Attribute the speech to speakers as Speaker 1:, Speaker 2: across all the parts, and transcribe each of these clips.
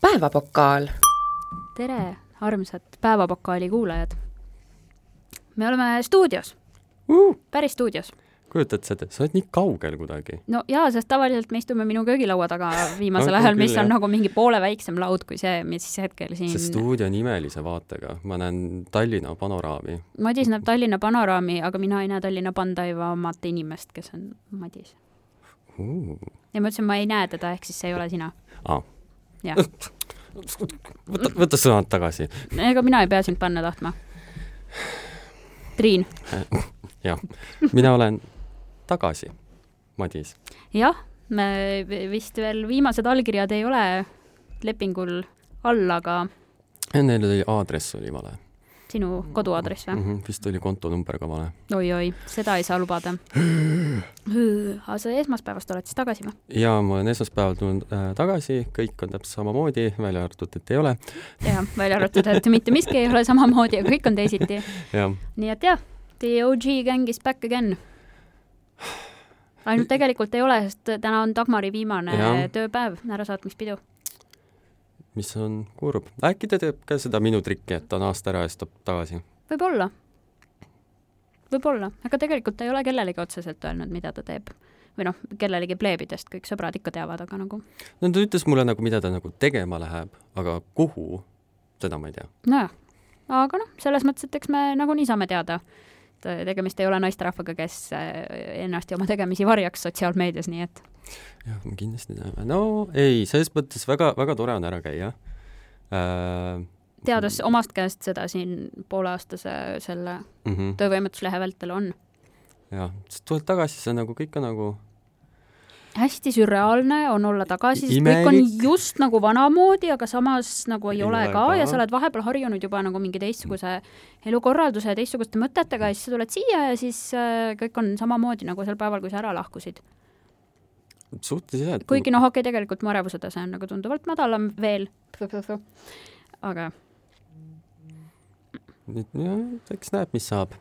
Speaker 1: päevapokaal.
Speaker 2: tere , armsad Päevapokaali kuulajad . me oleme stuudios ,
Speaker 3: uh, .
Speaker 2: päris stuudios .
Speaker 3: kujutad sa ette , sa oled nii kaugel kuidagi .
Speaker 2: no jaa , sest tavaliselt me istume minu köögilaua taga viimasel
Speaker 3: No,
Speaker 2: ajal ,
Speaker 3: küll,
Speaker 2: mis on
Speaker 3: jah.
Speaker 2: nagu mingi poole väiksem laud kui see , mis hetkel
Speaker 3: see
Speaker 2: siin .
Speaker 3: stuudio on imelise vaatega , ma näen Tallinna panoraami .
Speaker 2: Madis näeb Tallinna panoraami , aga mina ei näe Tallinna pandaivamat inimest , kes on Madis . ja ma ütlesin , ma ei näe teda , ehk siis see ei ole sina .
Speaker 3: Ah.
Speaker 2: jah ,
Speaker 3: võta , võta sõnad tagasi .
Speaker 2: ega mina ei pea sind panna tahtma . Triin ,
Speaker 3: mina olen tagasi , Madis .
Speaker 2: jah , me vist veel viimased allkirjad ei ole lepingul all , aga
Speaker 3: Neil oli aadress oli vale
Speaker 2: sinu koduaadress või ?
Speaker 3: -hmm, . vist oli kontonumber ka vale .
Speaker 2: oi-oi , seda ei saa lubada . aga sa esmaspäevast oled siis tagasi või ?
Speaker 3: ja ma olen esmaspäeval tulnud äh, tagasi , kõik on täpselt samamoodi , välja arvatud , et ei ole .
Speaker 2: jah , välja arvatud , et mitte miski ei ole samamoodi ja kõik on teisiti .
Speaker 3: jah ,
Speaker 2: nii et jah , the OG gang is back again . ainult tegelikult ei ole , sest täna on Dagmari viimane ja.
Speaker 3: Jah.
Speaker 2: tööpäev , ärasaatmispidu .
Speaker 3: mis on kurb . äkki ta teeb ka seda minu trikki , et ta on aasta ära ja siis tuleb tagasi .
Speaker 2: võib-olla . võib-olla , aga tegelikult ta ei ole kellelegi otseselt öelnud , mida ta teeb . või noh , kellelegi pleebidest , kõik sõbrad ikka teavad , aga nagu
Speaker 3: no ta ütles mulle nagu , mida ta nagu tegema läheb , aga kuhu , seda ma ei tea .
Speaker 2: nojah , aga noh , selles mõttes , et eks me nagunii saame teada , et äh, tegemist ei ole naisterahvaga , kes äh, ennast ja oma tegemisi varjaks sotsiaalmeedias , nii et
Speaker 3: jah , me kindlasti teame , no ei , selles mõttes väga , väga tore on ära käia äh, .
Speaker 2: teades omast käest seda siin pooleaastase selle
Speaker 3: Mm -hmm.
Speaker 2: töövõimetuslehe vältel on
Speaker 3: jah , siis tuled tagasi , see on nagu kõik on nagu
Speaker 2: hästi sürreaalne on olla tagasi , sest kõik on
Speaker 3: Imelik.
Speaker 2: just nagu vanamoodi , aga samas nagu ei, ei
Speaker 3: Ei
Speaker 2: ole
Speaker 3: ole
Speaker 2: ka ja
Speaker 3: ka.
Speaker 2: sa oled vahepeal harjunud juba nagu mingi teistsuguse elukorralduse ja teistsuguste mõtetega ja siis sa tuled siia ja siis äh, kõik on samamoodi nagu sel päeval , kui sa ära lahkusid .
Speaker 3: suhteliselt nagu jah , et
Speaker 2: kuigi noh , okei okay, , tegelikult mu ärevuse tase on nagu tunduvalt madalam veel . aga
Speaker 3: nüüd jah , eks näeb , mis saab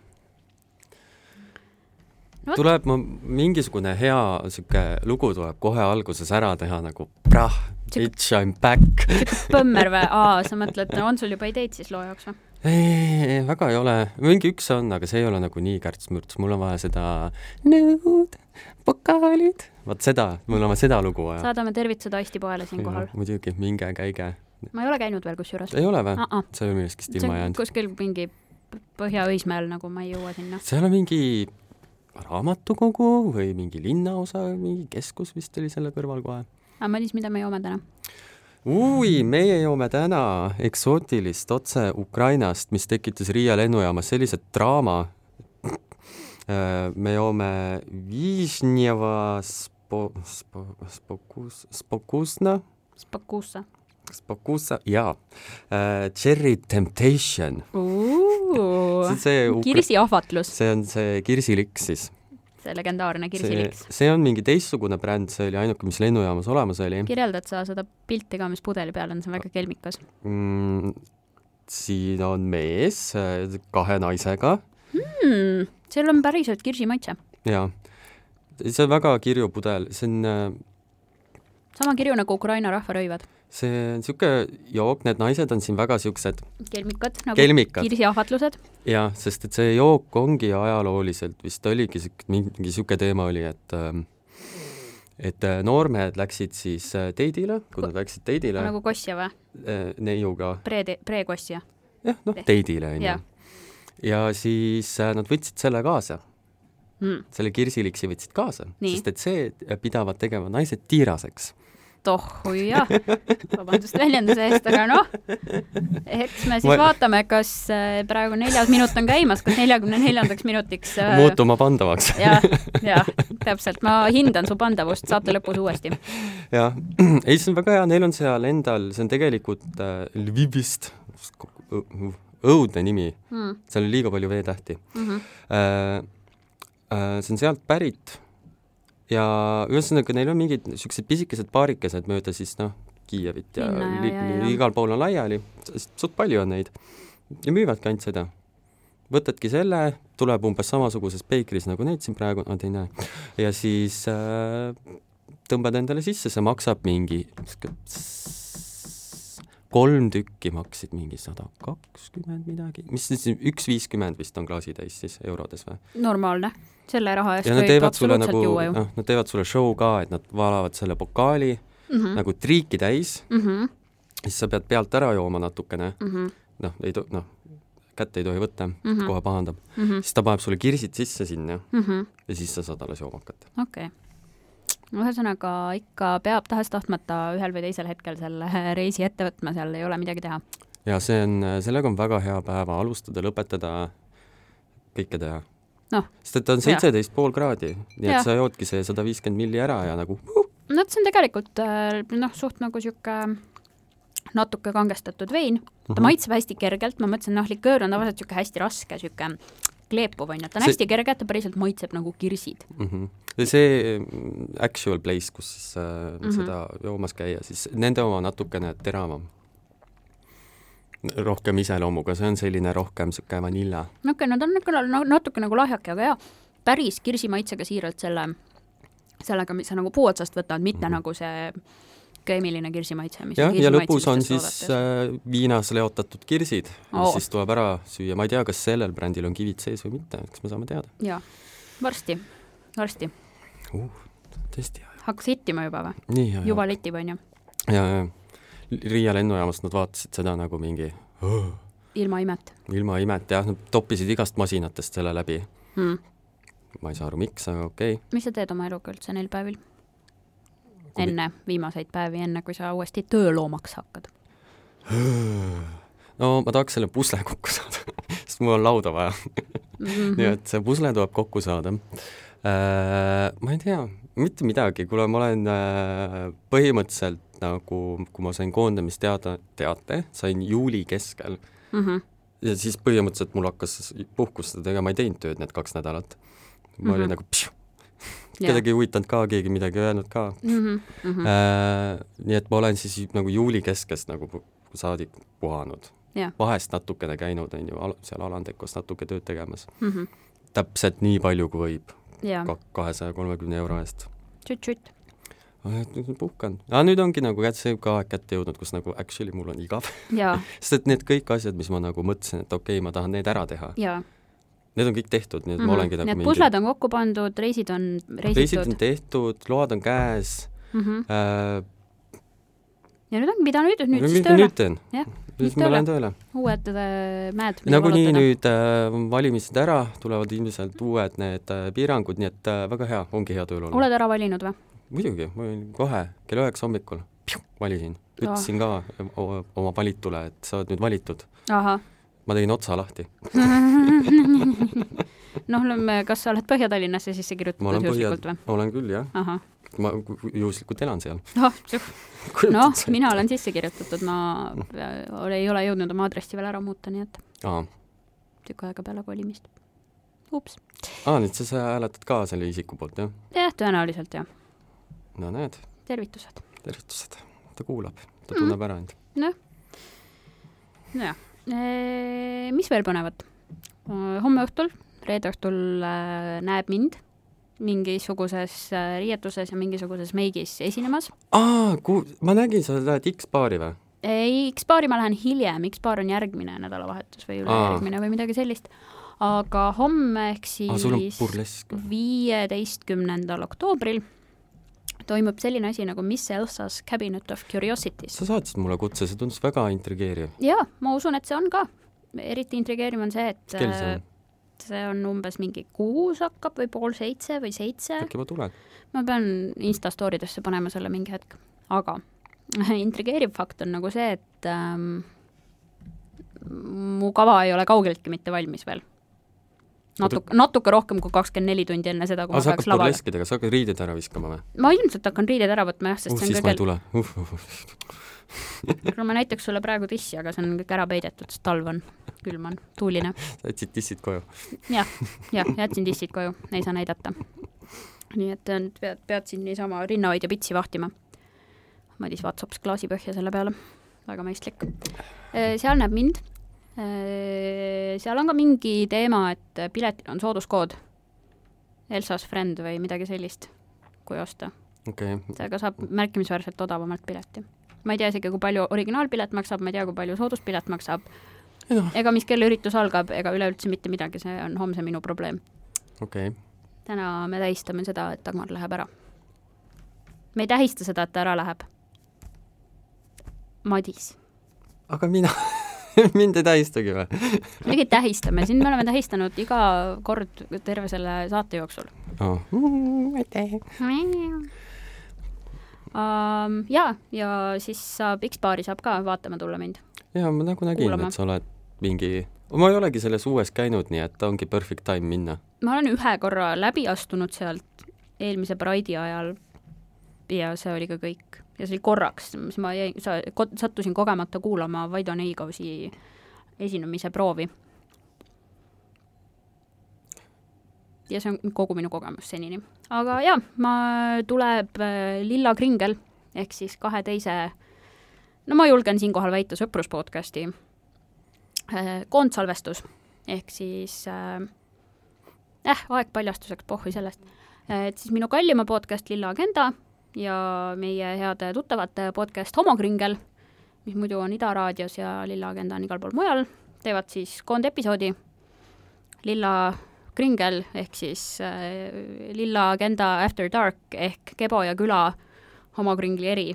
Speaker 2: No
Speaker 3: no,
Speaker 2: vot. .
Speaker 3: tuleb ma mingisugune hea sihuke lugu tuleb kohe alguses ära teha nagu prah ,
Speaker 2: Sihuke-
Speaker 3: bitch I m back .
Speaker 2: põmmer või ? aa , sa mõtled , no on sul juba ideid siis loo jaoks või ?
Speaker 3: ei , väga ei ole , mingi üks on , aga see ei ole nagu nii kärts-mürts , mul on vaja seda nõud , pokaalid , vaat seda , mul on vaja seda lugu vaja .
Speaker 2: saadame tervitused Aisti poele siinkohal .
Speaker 3: muidugi , minge käige .
Speaker 2: ma ei ole käinud veel kusjuures .
Speaker 3: ei ole või ?
Speaker 2: Ah. see
Speaker 3: sa ei ole millestki ilma
Speaker 2: on
Speaker 3: jäänud .
Speaker 2: kuskil mingi Põhja-Õismäel nagu ma ei jõua sinna .
Speaker 3: seal on mingi raamatukogu või mingi linnaosa , mingi keskus vist oli selle kõrval kohe .
Speaker 2: aga Madis , mida me joome täna ?
Speaker 3: ui , meie joome täna eksootilist otse Ukrainast , mis tekitas Riia lennujaamas sellise draama . me joome Vižnjeva spo- , spo- , spokus- , spokusna ,
Speaker 2: Spakuusa .
Speaker 3: spokusa , jaa , Cherry Temptation . see on see Ukra- ,
Speaker 2: Kirsi ahvatlus ,
Speaker 3: see on see kirsiliks siis .
Speaker 2: see legendaarne Kirsi
Speaker 3: see
Speaker 2: liks .,
Speaker 3: see on mingi teistsugune bränd , see oli ainuke , mis lennujaamas olemas oli
Speaker 2: kirjeldad sa seda pilti ka , mis pudeli peal on , see on väga kelmikas .
Speaker 3: mm, . siin on mees äh, kahe naisega
Speaker 2: hmm, . seal on päriselt kirsi maitse .
Speaker 3: ja see on väga kirju pudel , see on , äh,
Speaker 2: sama kirju nagu Ukraina rahvarõivad .
Speaker 3: see on niisugune jook , need naised on siin väga niisugused
Speaker 2: kelmikad nagu Kelm
Speaker 3: kelmikad
Speaker 2: kirsi ahvatlused .
Speaker 3: jah , sest et see jook ongi ajalooliselt vist oligi siuk- , mingi niisugune teema oli , et ähm, et äh, noormehed läksid siis äh, teidile , kui nad läksid teidile
Speaker 2: nagu kossja või ?
Speaker 3: äh, neiuga
Speaker 2: Pre-, pre-kossja .
Speaker 3: jah , noh
Speaker 2: Te- ,
Speaker 3: teidile onju
Speaker 2: jah. .
Speaker 3: ja siis äh, nad võtsid selle kaasa ,
Speaker 2: Mm.
Speaker 3: selle kirsiliksi võtsid kaasa ,
Speaker 2: Nii.
Speaker 3: sest et see pidavat tegema naised tiiraseks .
Speaker 2: tohhu jah , vabandust väljenduse eest , aga noh , eks me siis Ma...
Speaker 3: Ma-
Speaker 2: vaatame , kas äh, praegu neljas minut on käimas , kas neljakümne neljandaks minutiks äh,
Speaker 3: muutuma pandavaks .
Speaker 2: jah , jah , täpselt , ma hindan su pandavust , saate lõpus uuesti .
Speaker 3: jah , ei see on väga hea , neil on seal endal , see on tegelikult äh, Lvivist , õudne nimi ,
Speaker 2: Mm
Speaker 3: seal on liiga palju V-tähti
Speaker 2: -hmm.
Speaker 3: äh, . Äh, see on sealt pärit ja ühesõnaga , neil on mingid niisugused pisikesed paarikesed mööda siis noh , Kiievit ja,
Speaker 2: Linna ja-
Speaker 3: li-
Speaker 2: ja- ja.
Speaker 3: li- igal pool on laiali , suht palju on neid ja müüvadki ainult seda . võtadki selle , tuleb umbes samasuguses peikris nagu need siin praegu , nad ei näe , ja siis äh, tõmbad endale sisse , see maksab mingi sihuke s- kolm tükki maksid mingi sada kakskümmend midagi, mis siis üks viiskümmend vist on klaasitäis siis eurodes või?
Speaker 2: normaalne , selle raha eest
Speaker 3: ja nad
Speaker 2: võib
Speaker 3: teevad sulle
Speaker 2: absoluutselt
Speaker 3: nagu
Speaker 2: nagu... , juua ju .
Speaker 3: noh , nad teevad sulle show ka , et nad valavad selle pokaali
Speaker 2: Mhm.
Speaker 3: mm. nagu triiki täis , siis sa pead pealt ära jooma natukene ,
Speaker 2: mhm,
Speaker 3: noh , ei to- , noh , kätte ei tohi võtta mm , -hmm. kohe pahandab mm .
Speaker 2: mhm,
Speaker 3: -hmm. siis ta paneb sulle kirsid sisse sinna ja siis sa saad alles jooma hakata .
Speaker 2: okei . ühesõnaga ikka peab tahes-tahtmata ühel või teisel hetkel selle reisi ette võtma , seal ei ole midagi teha .
Speaker 3: ja see on , sellega on väga hea päeva alustada , lõpetada , kõike teha .
Speaker 2: noh ,
Speaker 3: sest et ta on
Speaker 2: Jah.
Speaker 3: seitseteist pool kraadi , nii
Speaker 2: Jah.
Speaker 3: et sa joodki see sada viiskümmend milli ära ja nagu
Speaker 2: no vot, see on tegelikult äh, noh , suht nagu sihuke natuke kangestatud vein ,
Speaker 3: Mhm.
Speaker 2: ta maitseb hästi kergelt , ma mõtlesin , noh , liköör on tavaliselt sihuke hästi raske , sihuke kleepuv on ju , ta on
Speaker 3: See-
Speaker 2: hästi kerge , ta päriselt maitseb nagu kirsid .
Speaker 3: mm -hmm. ja see mm, actual place , kus siis äh, mm
Speaker 2: Mhm.
Speaker 3: -hmm. seda joomas käia , siis nende oma natukene teravam . rohkem iseloomuga , see on selline rohkem niisugune vanilla .
Speaker 2: okei , no ta on ikka na- natuke nagu lahjake , aga jaa , päris kirsimaitsega siiralt selle , sellega , mis sa nagu puu otsast võtad , mitte mm -hmm. nagu see keemiline kirsimaitse , mis
Speaker 3: Mhm. jah , ja lõpus on siis äh, viinas leotatud kirsid oh.
Speaker 2: Oo. ,
Speaker 3: siis tuleb ära süüa , ma ei tea , kas sellel brändil on kivid sees või mitte , eks me saame teada
Speaker 2: jaa , varsti , varsti ,
Speaker 3: uh, . tõesti hea .
Speaker 2: hakkas hittima juba või ?
Speaker 3: nii hea
Speaker 2: juba . litib , on ju ,
Speaker 3: ja , ja Riia lennujaamast nad vaatasid seda nagu mingi oh,
Speaker 2: ilma imet
Speaker 3: ilma imet jah , nad toppisid igast masinatest selle läbi .
Speaker 2: hmm. .
Speaker 3: ma ei saa aru , miks , aga okei okay. .
Speaker 2: mis sa teed oma eluga üldse neil päevil ? enne viimaseid päevi , enne kui sa uuesti tööloomaks hakkad .
Speaker 3: no ma tahaks selle pusle kokku saada , sest mul on lauda vaja mm .
Speaker 2: Mhm.
Speaker 3: -hmm. nii et see pusle tuleb kokku saada äh, . ma ei tea , mitte midagi , kuule , ma olen äh, põhimõtteliselt nagu , kui ma sain koondamisteada , teate , sain juuli keskel
Speaker 2: Mm -hmm.
Speaker 3: ja siis põhimõtteliselt mul hakkas puhkust tegema , ma ei teinud tööd need kaks nädalat . ma mm -hmm. olin nagu , kedagi ei huvitanud ka , keegi midagi ei öelnud ka
Speaker 2: mm . -hmm. Mm -hmm.
Speaker 3: Äh, nii et ma olen siis nagu juuli keskest nagu pu- saadik puhanud .
Speaker 2: Jah.
Speaker 3: vahest natukene käinud , on ju , seal alandekos natuke tööd tegemas .
Speaker 2: mm -hmm.
Speaker 3: täpselt nii palju , kui võib ,
Speaker 2: jaa ,
Speaker 3: kahesaja kolmekümne euro eest .
Speaker 2: tšütt-tšütt .
Speaker 3: puhkan . aga nüüd ongi nagu kätte see ka aeg kätte jõudnud , kus nagu actually mul on igav ,
Speaker 2: jaa ,
Speaker 3: sest et need kõik asjad , mis ma nagu mõtlesin , et okei okay, , ma tahan need ära teha ,
Speaker 2: jaa Mhm.
Speaker 3: need on kõik tehtud , nii et mm -hmm. ma olengi nagu
Speaker 2: Need pusled on kokku pandud , reisid on
Speaker 3: reisid on
Speaker 2: reisitud .
Speaker 3: tehtud , load on käes
Speaker 2: Mm -hmm.
Speaker 3: äh, .
Speaker 2: ja nüüd ongi , mida nüüd , nüüd siis tööle
Speaker 3: nüüd ? teen ?
Speaker 2: jah ,
Speaker 3: siis
Speaker 2: nüüd
Speaker 3: ma lähen
Speaker 2: tööle ,
Speaker 3: tööle
Speaker 2: uued äh, mäed .
Speaker 3: nagunii . nagu nüüd äh, on valimised ära , tulevad ilmselt uued need äh, piirangud , nii et äh, väga hea , ongi hea tööl olla .
Speaker 2: oled ära valinud või ?
Speaker 3: muidugi , ma olin kohe kell üheksa hommikul , valisin ,
Speaker 2: Ah.
Speaker 3: ütlesin ka o- oma valitule , et sa oled nüüd valitud .
Speaker 2: ahah ,
Speaker 3: ma tegin otsa lahti ,
Speaker 2: noh , kas sa oled Põhja-Tallinnasse sisse
Speaker 3: ma
Speaker 2: kirjutatud
Speaker 3: olen põhja
Speaker 2: juhuslikult või ?,
Speaker 3: olen küll jah ,
Speaker 2: ahah ,
Speaker 3: ma ku- ku- juhuslikult elan seal .
Speaker 2: noh , noh , mina olen sisse kirjutatud , ma äh, ole- ei ole jõudnud oma aadressi veel ära muuta , nii et
Speaker 3: aa,
Speaker 2: tükk aega peale kolimist . ups ,
Speaker 3: aa , nüüd sa, sa hääletad ka selle isiku poolt jah ?
Speaker 2: jah , tõenäoliselt jah ,
Speaker 3: no näed ,
Speaker 2: tervitused .
Speaker 3: tervitused , ta kuulab , ta tunneb ära end .
Speaker 2: noh , nojah , mis veel põnevat ? homme õhtul , reede õhtul eh, näeb mind mingisuguses eh, riietuses ja mingisuguses meigis esinemas .
Speaker 3: aa , kuul- , ma nägin , sa lähed X-baari või ?
Speaker 2: ei , X-baari ma lähen hiljem , X-baar on järgmine nädalavahetus või ülejärgmine või midagi sellist . aga homme ehk
Speaker 3: aa , sul on
Speaker 2: siis
Speaker 3: burlesk .
Speaker 2: viieteistkümnendal oktoobril toimub selline asi nagu Miss Elsa's Cabinet of Curiosities .
Speaker 3: sa saatsid mulle kutse , see tundus väga intrigeeriv .
Speaker 2: jaa , ma usun , et see on ka . eriti intrigeeriv on see , et
Speaker 3: kell see on ?
Speaker 2: äh, see on umbes mingi kuus hakkab või pool seitse või seitse .
Speaker 3: äkki ma tulen ?
Speaker 2: ma pean Insta story desse panema selle mingi hetk , aga intrigeeriv fakt on nagu see , et ähm, mu kava ei ole kaugeltki mitte valmis veel . natuke , natuke rohkem kui kakskümmend neli tundi enne seda , kui ma
Speaker 3: aa , Ah, sa
Speaker 2: peaks
Speaker 3: hakkad
Speaker 2: lavale .
Speaker 3: burleskidega , sa hakkad riided ära viskama või ?
Speaker 2: ma ilmselt hakkan riided ära võtma jah , sest
Speaker 3: uh ,
Speaker 2: see
Speaker 3: siis
Speaker 2: on
Speaker 3: ma ei
Speaker 2: kõigel ,
Speaker 3: tule uh, . Uh, uh.
Speaker 2: no ma näitaks sulle praegu tissi , aga see on kõik ära peidetud , sest talv on , külm on , tuuline .
Speaker 3: sa jätsid tissid koju .
Speaker 2: jah , jah , jätsin tissid koju , ei saa näidata . nii et äh, nüüd pead , pead siin niisama rinnahoidja pitsi vahtima . Madis Vatsaps klaasi põhja selle peale , väga mõistlik . seal näeb mind . seal on ka mingi teema , et äh, piletil on sooduskood . Elsas Friend või midagi sellist , kui osta .
Speaker 3: okei okay. ,
Speaker 2: seega saab märkimisväärselt odavamalt pileti . ma ei tea isegi, kui palju originaalpilet maksab, ma ei tea, kui palju sooduspilet maksab
Speaker 3: Jah. .
Speaker 2: ega mis kell üritus algab, ega üleüldse mitte midagi , see on homse minu probleem .
Speaker 3: okei okay. ,
Speaker 2: täna me tähistame seda , et Dagmar läheb ära . me ei tähista seda , et ta ära läheb . Madis ,
Speaker 3: aga mina , mind ei tähistagi või ?
Speaker 2: muidugi tähistame , siin me oleme tähistanud iga kord terve selle saate jooksul .
Speaker 3: Noh.
Speaker 2: Mm,
Speaker 3: aitäh .
Speaker 2: Um, ja , ja siis saab X-baari saab ka vaatama tulla mind .
Speaker 3: ja ma nagu nägin ,
Speaker 2: Kuulame.
Speaker 3: et sa oled mingi , ma ei olegi selles uues käinud , nii et ongi perfect time minna .
Speaker 2: ma olen ühe korra läbi astunud sealt eelmise Pride'i ajal ja see oli ka kõik . ja see oli korraks , siis ma jäin , sa , sattusin kogemata kuulama Vaido Neigausi esinemise proovi . ja see on kogu minu kogemus senini . aga jaa , ma , tuleb äh, Lilla Kringel ehk siis kahe teise , no ma julgen siinkohal väita sõpruspodcasti äh, koondsalvestus ehk siis äh, äh , aeg paljastuseks , pohhui sellest . et siis minu kallima podcast Lilla Agenda ja meie heade tuttavate podcast Homokringel , mis muidu on Ida raadios ja Lilla Agenda on igal pool mujal , teevad siis koondepisoodi Lilla Kringel ehk siis äh, Lilla Agenda After Dark ehk Kebo ja küla homokringli eri .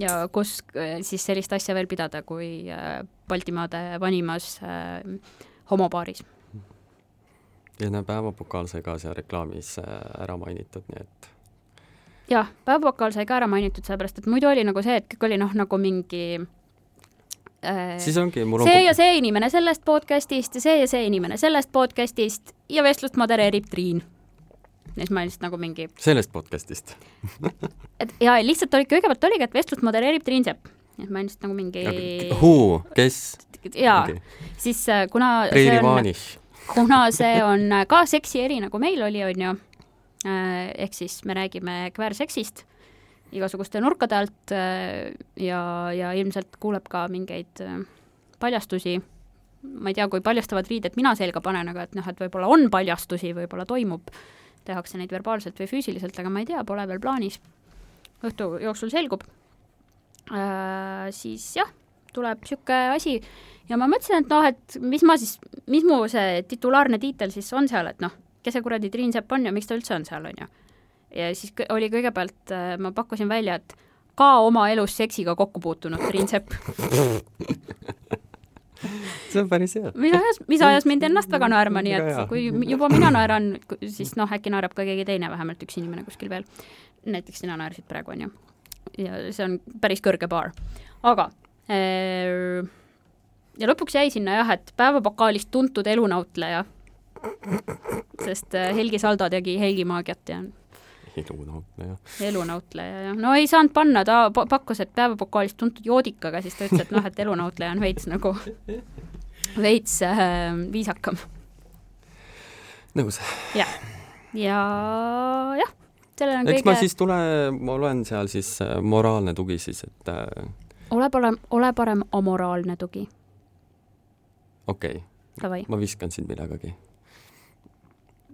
Speaker 2: ja kus äh, siis sellist asja veel pidada , kui äh, Baltimaade vanimas äh, homobaaris .
Speaker 3: ja näe , päevapokaal sai ka seal reklaamis äh, ära mainitud , nii et
Speaker 2: jah , päevapokal sai ka ära mainitud , sellepärast et muidu oli nagu see , et kõik oli noh , nagu mingi äh,
Speaker 3: siis ongi , mul on
Speaker 2: see ja see inimene sellest podcast'ist ja see ja see inimene sellest podcast'ist ja vestlust modereerib Triin . ja siis ma lihtsalt nagu mingi ,
Speaker 3: sellest podcast'ist ,
Speaker 2: et ja lihtsalt oli , kõigepealt oligi , et vestlust modereerib Triin Sepp . ja siis ma lihtsalt nagu mingi
Speaker 3: who , kes ,
Speaker 2: jaa
Speaker 3: okei.
Speaker 2: okay. , siis äh, kuna see
Speaker 3: Reili
Speaker 2: on ,
Speaker 3: Vaaniš ,
Speaker 2: kuna see on äh, ka seksi eri , nagu meil oli , on ju , ehk siis me räägime kväärseksist igasuguste nurkade alt eh, ja , ja ilmselt kuuleb ka mingeid eh, paljastusi , ma ei tea , kui paljastavad riided mina selga panen , aga et noh , et võib-olla on paljastusi , võib-olla toimub , tehakse neid verbaalselt või füüsiliselt , aga ma ei tea , pole veel plaanis . õhtu jooksul selgub . siis jah , tuleb niisugune asi ja ma mõtlesin , et noh , et mis ma siis , mis mu see titulaarne tiitel siis on seal , et noh , kes see kuradi Triin Sepp on ja miks ta üldse on seal , on ju . ja siis kõ- oli kõigepealt , ma pakkusin välja , et ka oma elus seksiga kokku puutunud Triin Sepp ,
Speaker 3: see on päris hea .
Speaker 2: mis ajas , mis ajas mind ennast väga naerma , nii et
Speaker 3: Väga hea.
Speaker 2: kui juba mina naeran , siis noh , äkki naerab ka keegi teine , vähemalt üks inimene kuskil veel . näiteks sina naersid praegu , on ju . ja see on päris kõrge baar , aga äh, ja lõpuks jäi sinna jah , et päevapokaalist tuntud elunautleja . sest äh, Helgi Saldo tegi Helgi maagiat ja
Speaker 3: nagu ilunautleja ,
Speaker 2: elunautleja ja no ei saanud panna , ta pa- pakkus , et päevapokaalist tuntud joodikaga , siis ta ütles , et noh , et elunautleja on veits nagu , veits äh, viisakam .
Speaker 3: nõus .
Speaker 2: ja jah , sellel on
Speaker 3: eks ma
Speaker 2: kõige ,
Speaker 3: siis tule , ma olen seal siis äh, moraalne tugi siis , et äh,
Speaker 2: ole parem , ole parem amoraalne tugi ,
Speaker 3: okei okay, ,
Speaker 2: davai ,
Speaker 3: ma viskan sind millegagi .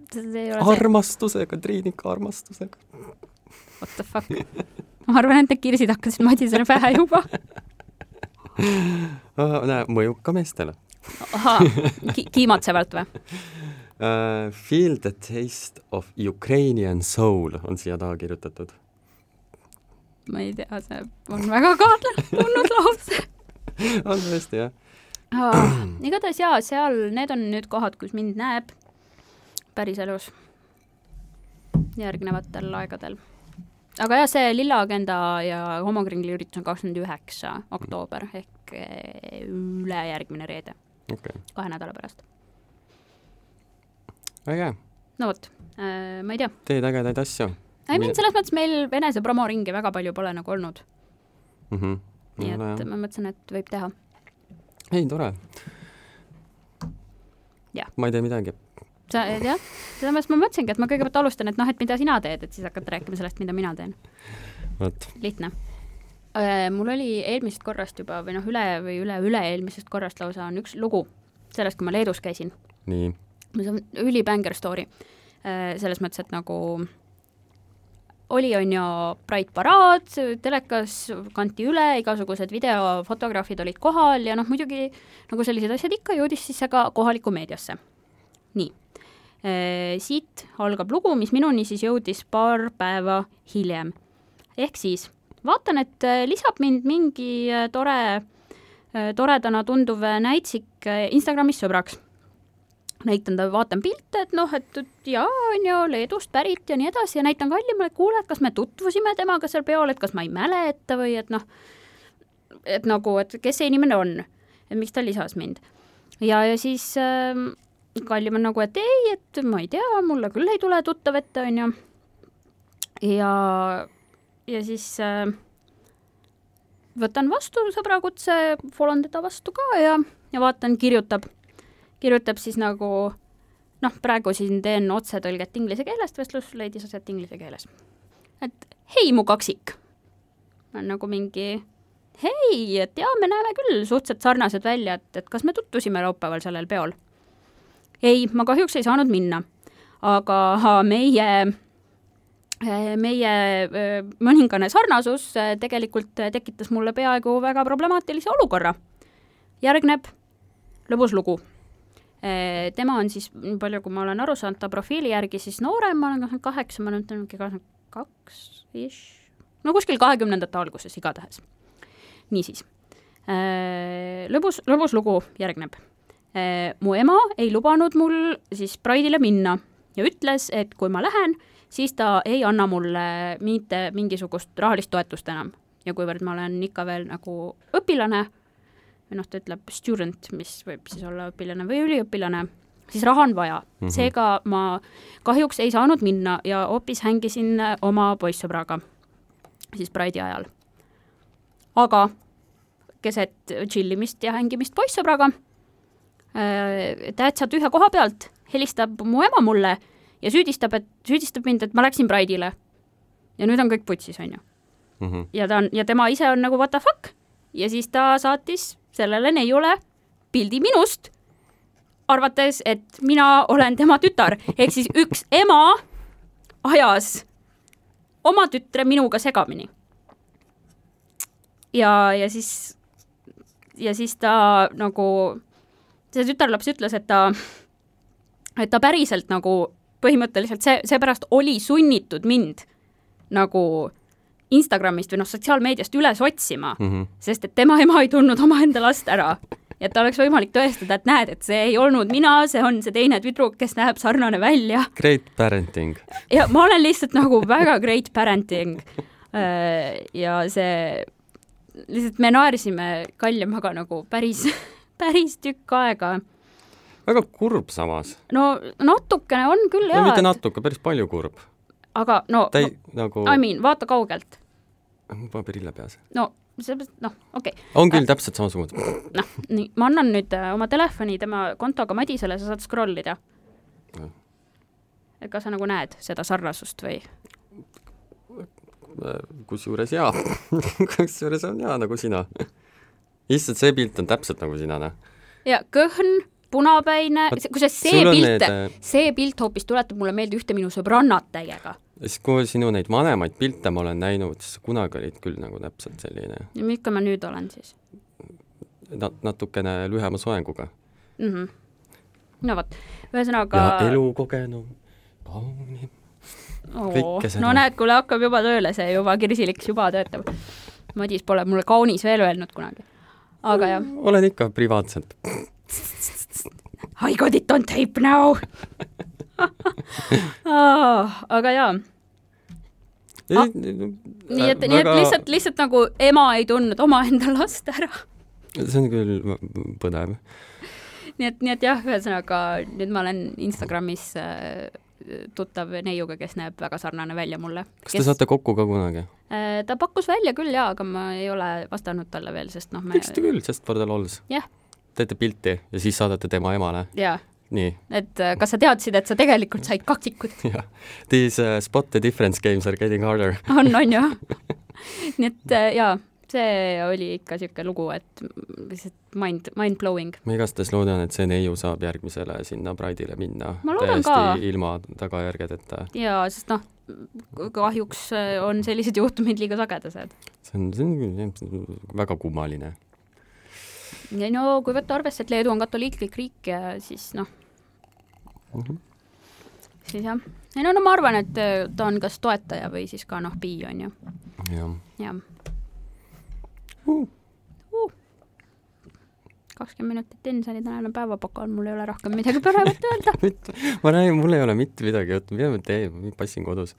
Speaker 2: see ei ole see ,
Speaker 3: armastusega , Triinika armastusega .
Speaker 2: what the fuck . ma arvan , et need kirsid hakkasid Madisele pähe juba .
Speaker 3: Äh, näe , mõjub ka meestele
Speaker 2: ahaa , kiimatsevalt või ?
Speaker 3: uh, . Feel the taste of Ukrainian soul on siia taha kirjutatud .
Speaker 2: ma ei tea , see on väga kaotlane tulnud lause .
Speaker 3: on tõesti jah ,
Speaker 2: igatahes jaa , seal , need on nüüd kohad , kus mind näeb päriselus järgnevatel aegadel . aga jah , see Lilla Agenda ja homokringli üritus on kakskümmend üheksa oktoober ehk eh, ülejärgmine reede ,
Speaker 3: okei okay. ,
Speaker 2: kahe nädala pärast .
Speaker 3: väga hea ,
Speaker 2: no vot , ma ei tea ,
Speaker 3: teed ägedaid asju
Speaker 2: ei
Speaker 3: Mine-
Speaker 2: mind selles mõttes meil enese promoringi väga palju pole nagu olnud ,
Speaker 3: mm . -hmm.
Speaker 2: nii et ma mõtlesin , et võib teha .
Speaker 3: ei , tore .
Speaker 2: Jah.
Speaker 3: ma ei tee midagi .
Speaker 2: sa , jah , selles mõttes ma mõtlesingi , et ma kõigepealt alustan , et noh , et mida sina teed , et siis hakkad rääkima sellest , mida mina teen .
Speaker 3: vot ,
Speaker 2: lihtne . mul oli eelmisest korrast juba või noh , üle või üle-üle-eelmisest korrast lausa on üks lugu sellest , kui ma Leedus käisin .
Speaker 3: nii ,
Speaker 2: Äh, see on ülibänger story . selles mõttes , et nagu oli , on ju , Pride paraad telekas kanti üle , igasugused videofotograafid olid kohal ja noh , muidugi nagu sellised asjad ikka , jõudis siis see ka kohalikku meediasse . nii , siit algab lugu , mis minuni siis jõudis paar päeva hiljem . ehk siis vaatan , et eh, lisab mind mingi eh, tore , toredana tunduv eh, näitsik eh, Instagramis sõbraks . näitan ta , vaatan pilte , et noh , et et jaa , on ju , Leedust pärit ja nii edasi ja näitan kallimale , kuule , et kas me tutvusime temaga seal peol , et kas ma ei mäleta või et noh , et nagu , et kes see inimene on , et miks ta lisas mind . ja , ja siis ähm, Kallim on nagu , et ei , et ma ei tea , mulle küll ei tule tuttav ette , on ju . ja , ja siis äh, võtan vastu sõbrakutse , folon teda vastu ka ja , ja vaatan , kirjutab , kirjutab siis nagu noh , praegu siin teen otsetõlget inglise keelest , vestlus leidis aset inglise keeles . et hei , mu kaksik . on nagu mingi hei , et jaa , me näeme küll suhteliselt sarnased välja , et , et kas me tutvusime laupäeval sellel peol ei , ma kahjuks ei saanud minna , aga meie , meie öö, mõningane sarnasus öö, tegelikult tekitas mulle peaaegu väga problemaatilise olukorra . järgneb lõbus lugu . Äh, tema on siis , nii palju kui ma olen aru saanud , ta profiili järgi siis noorem , ma olen kakskümmend kaheksa , ma olen mingi kakskümmend kaks ish , no kuskil kahekümnendate alguses igatahes . niisiis , lõbus , lõbus lugu järgneb Eh, mu ema ei lubanud mul siis Pride'ile minna ja ütles , et kui ma lähen , siis ta ei anna mulle mitte mingisugust rahalist toetust enam . ja kuivõrd ma olen ikka veel nagu õpilane või noh , ta ütleb student , mis võib siis olla õpilane või üliõpilane , siis raha on vaja mm .
Speaker 3: Mhm.
Speaker 2: -hmm. seega ma kahjuks ei saanud minna ja hoopis hängisin oma poissõbraga siis Pride'i ajal . aga keset tšillimist ja hängimist poissõbraga äh, tähtsalt ühe koha pealt helistab mu ema mulle ja süüdistab , et süüdistab mind , et ma läksin Pride'ile . ja nüüd on kõik putsis , on ju .
Speaker 3: mhmh ,
Speaker 2: ja ta on , ja tema ise on nagu what the fuck ja siis ta saatis sellele neiule pildi minust , arvates , et mina olen tema tütar , ehk siis üks ema ajas oma tütre minuga segamini . ja , ja siis , ja siis ta nagu , see tütarlaps ütles , et ta , et ta päriselt nagu põhimõtteliselt see , seepärast oli sunnitud mind nagu Instagramist või noh , sotsiaalmeediast üles otsima ,
Speaker 3: mhmh ,
Speaker 2: sest et tema ema ei tundnud omaenda last ära . et oleks võimalik tõestada , et näed , et see ei olnud mina , see on see teine tüdruk , kes näeb sarnane välja
Speaker 3: great parenting .
Speaker 2: ja ma olen lihtsalt nagu väga great parenting . ja see , lihtsalt me naersime Kaljamaga nagu päris , päris tükk aega .
Speaker 3: väga kurb samas ,
Speaker 2: no natukene on küll
Speaker 3: no mitte
Speaker 2: jaa ,
Speaker 3: natuke , päris palju kurb .
Speaker 2: aga no ,
Speaker 3: ta ei nagu
Speaker 2: I , mean , vaata kaugelt .
Speaker 3: mul pole prille peas .
Speaker 2: no sellepärast , noh , okei okay. ,
Speaker 3: on küll täpselt samasugune .
Speaker 2: noh , nii , ma annan nüüd äh, oma telefoni tema kontoga Madisele , sa saad scroll ida
Speaker 3: Jah. .
Speaker 2: kas sa nagu näed seda sarnasust või ?
Speaker 3: kusjuures jaa , kusjuures on jaa nagu sina . issand , see pilt on täpselt nagu sina , noh .
Speaker 2: ja kõhn , punapäine
Speaker 3: Vaat ,
Speaker 2: kusjuures see
Speaker 3: sul on
Speaker 2: pilt
Speaker 3: need, , äh,
Speaker 2: see pilt hoopis tuletab mulle meelde ühte minu sõbrannat täiega .
Speaker 3: siis kui sinu neid vanemaid pilte ma olen näinud , siis kunagi olid küll nagu täpselt selline
Speaker 2: ja milline ma nüüd olen siis
Speaker 3: na- , natukene lühema soenguga
Speaker 2: mm ? -hmm. no vot , ühesõnaga
Speaker 3: Ka... . ja elukogenum , kaunim .
Speaker 2: Oo,
Speaker 3: kõike seda.
Speaker 2: no näed , kuule hakkab juba tööle see juba kirsiliks juba töötab . Madis pole mulle kaunis veel öelnud kunagi . aga jah ,
Speaker 3: olen ikka privaatselt .
Speaker 2: I got it on tape now oh, . aga jaa , Ah, nii et , nii et lihtsalt , lihtsalt nagu ema ei tundnud omaenda last ära .
Speaker 3: see on küll v- põnev .
Speaker 2: nii et , nii et jah , ühesõnaga nüüd ma olen Instagramis äh, tuttav neiuga , kes näeb väga sarnane välja mulle .
Speaker 3: kas te saate kokku ka kunagi ?
Speaker 2: Äh, ta pakkus välja küll jaa , aga ma ei ole vastanud talle veel , sest noh , me
Speaker 3: võiksite küll , sest for the lols .
Speaker 2: jah ,
Speaker 3: teete pilti ja siis saadate tema emale .
Speaker 2: jaa ,
Speaker 3: nii ,
Speaker 2: et äh, kas sa teadsid , et sa tegelikult said kaksikud ?
Speaker 3: jah . These uh, spot the difference games are getting harder .
Speaker 2: on , on ju . nii et äh, jaa , see oli ikka niisugune lugu , et m- lihtsalt mind , mind blowing .
Speaker 3: ma igastahes loodan , et see neiu saab järgmisele sinna Pride'ile minna .
Speaker 2: Ma loodan
Speaker 3: täiesti
Speaker 2: ka.
Speaker 3: ilma tagajärgedeta .
Speaker 2: jaa , sest noh , kahjuks äh, on sellised juhtumid liiga sagedased .
Speaker 3: see on , see on küll väga kummaline .
Speaker 2: no kui võtta arvesse , et Leedu on katoliiklik riik ja siis noh , Mhm. siis jah . ei no, no ma arvan , et äh, ta on kas toetaja või siis ka noh , bi on ju ,
Speaker 3: jah .
Speaker 2: jah . kakskümmend minutit Insani tänane päevapakk on , mul ei ole rohkem midagi põnevat öelda .
Speaker 3: ma räägin , mul ei ole mitte midagi juttu , mida ma teen , ma passin kodus ,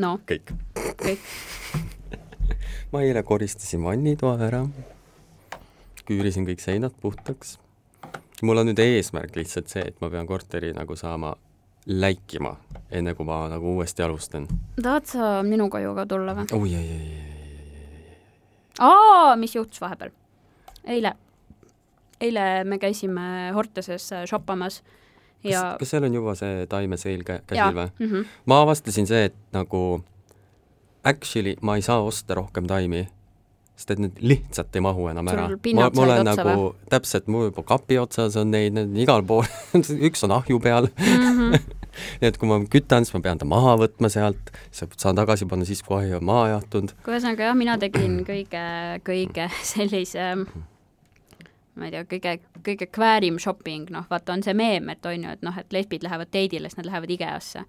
Speaker 2: no
Speaker 3: kõik .
Speaker 2: kõik ,
Speaker 3: ma eile koristasin vannitoa ära , küürisin kõik seinad puhtaks . mul on nüüd eesmärk lihtsalt see , et ma pean korteri nagu saama läikima , enne kui ma nagu uuesti alustan .
Speaker 2: tahad sa minu koju ka tulla või ?
Speaker 3: oi , oi , oi , oi ,
Speaker 2: aa , mis juhtus vahepeal ? eile , eile me käisime Hortuses äh, shoppamas
Speaker 3: kas
Speaker 2: ja ,
Speaker 3: kas seal on juba see taimeseil kä-
Speaker 2: ja Mhm.
Speaker 3: käsil või ?,
Speaker 2: mhmh ,
Speaker 3: ma avastasin see , et nagu actually ma ei saa osta rohkem taimi , sest et need lihtsalt ei mahu enam
Speaker 2: Sul
Speaker 3: ära . ma
Speaker 2: pinnad ,
Speaker 3: ma olen
Speaker 2: said otsa
Speaker 3: nagu täpselt , mul juba kapi otsas on neid , need on igal pool , üks on ahju peal mm .
Speaker 2: Mhm.
Speaker 3: -hmm. nii et kui ma kütan , siis ma pean ta maha võtma sealt , siis saan tagasi panna siis , kui ahi on maha jahtunud .
Speaker 2: ühesõnaga jah , mina tegin kõige , kõige sellise ma ei tea , kõige , kõige kväärim shopping , noh vaata , on see meem , et on ju , et noh , et lesbid lähevad teidile , siis nad lähevad IKEA-sse .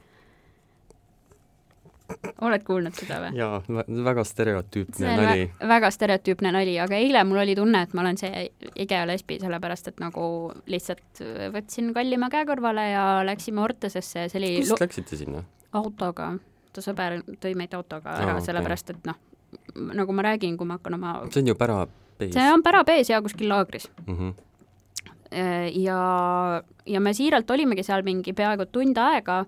Speaker 2: oled kuulnud seda või ?
Speaker 3: jaa , väga stereotüüpne
Speaker 2: see on
Speaker 3: nali .
Speaker 2: vä- väga stereotüüpne nali , aga eile mul oli tunne , et ma olen see IKEA lesbi , sellepärast et nagu lihtsalt võtsin kallima käekorvale ja läksime Ortesesse ja see oli
Speaker 3: kust
Speaker 2: lu-
Speaker 3: läksite sinna ?
Speaker 2: autoga , ta sõber tõi meid autoga
Speaker 3: Aa,
Speaker 2: ära
Speaker 3: okei.
Speaker 2: okay. , sellepärast et noh , nagu ma räägin , kui ma hakkan oma ,
Speaker 3: see on ju pära peis
Speaker 2: see on Pära B-s ja kuskil laagris .
Speaker 3: mm . -hmm.
Speaker 2: Äh, ja , ja me siiralt olimegi seal mingi peaaegu tund aega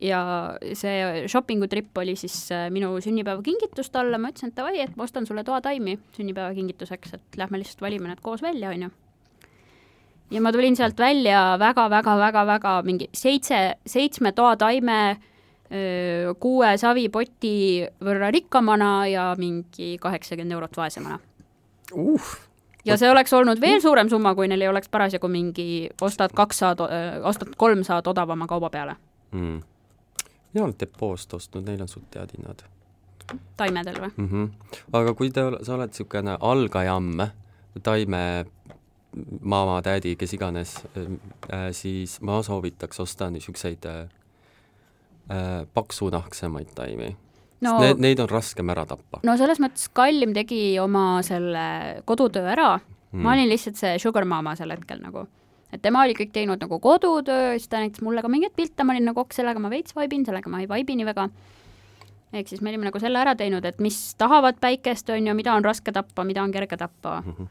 Speaker 2: ja see shopping u trip oli siis äh, minu sünnipäevakingitus talle , ma ütlesin , et davai , et ma ostan sulle toataimi sünnipäevakingituseks , et lähme lihtsalt valime need koos välja , onju . ja ma tulin sealt välja väga-väga-väga-väga mingi seitse , seitsme toataime , kuue savipoti võrra rikkamana ja mingi kaheksakümmend eurot vaesemana
Speaker 3: uh ,
Speaker 2: ja see oleks olnud veel suurem summa , kui neil ei oleks parasjagu mingi ostad kaks saad , ostad kolm saad odavama kauba peale
Speaker 3: mm. mina olen depoost ostnud , neil on suht head hinnad .
Speaker 2: taimedel või ?
Speaker 3: mm . -hmm. aga kui te , sa oled niisugune algajamm , taime maama , tädi , kes iganes , siis ma soovitaks osta niisuguseid äh, äh, paksunahksemaid taimi
Speaker 2: no
Speaker 3: no. . Need , neid on raskem ära tappa .
Speaker 2: no selles mõttes Kallim tegi oma selle kodutöö ära mm. , ma olin lihtsalt see sugar mama sel hetkel nagu . et tema oli kõik teinud nagu kodutöö , siis ta näitas mulle ka mingeid pilte , ma olin nagu ok , sellega ma veits vaibin , sellega ma ei vaibi nii väga . ehk siis me olime nagu selle ära teinud , et mis tahavad päikest , on ju , mida on raske tappa , mida on kerge tappa mm .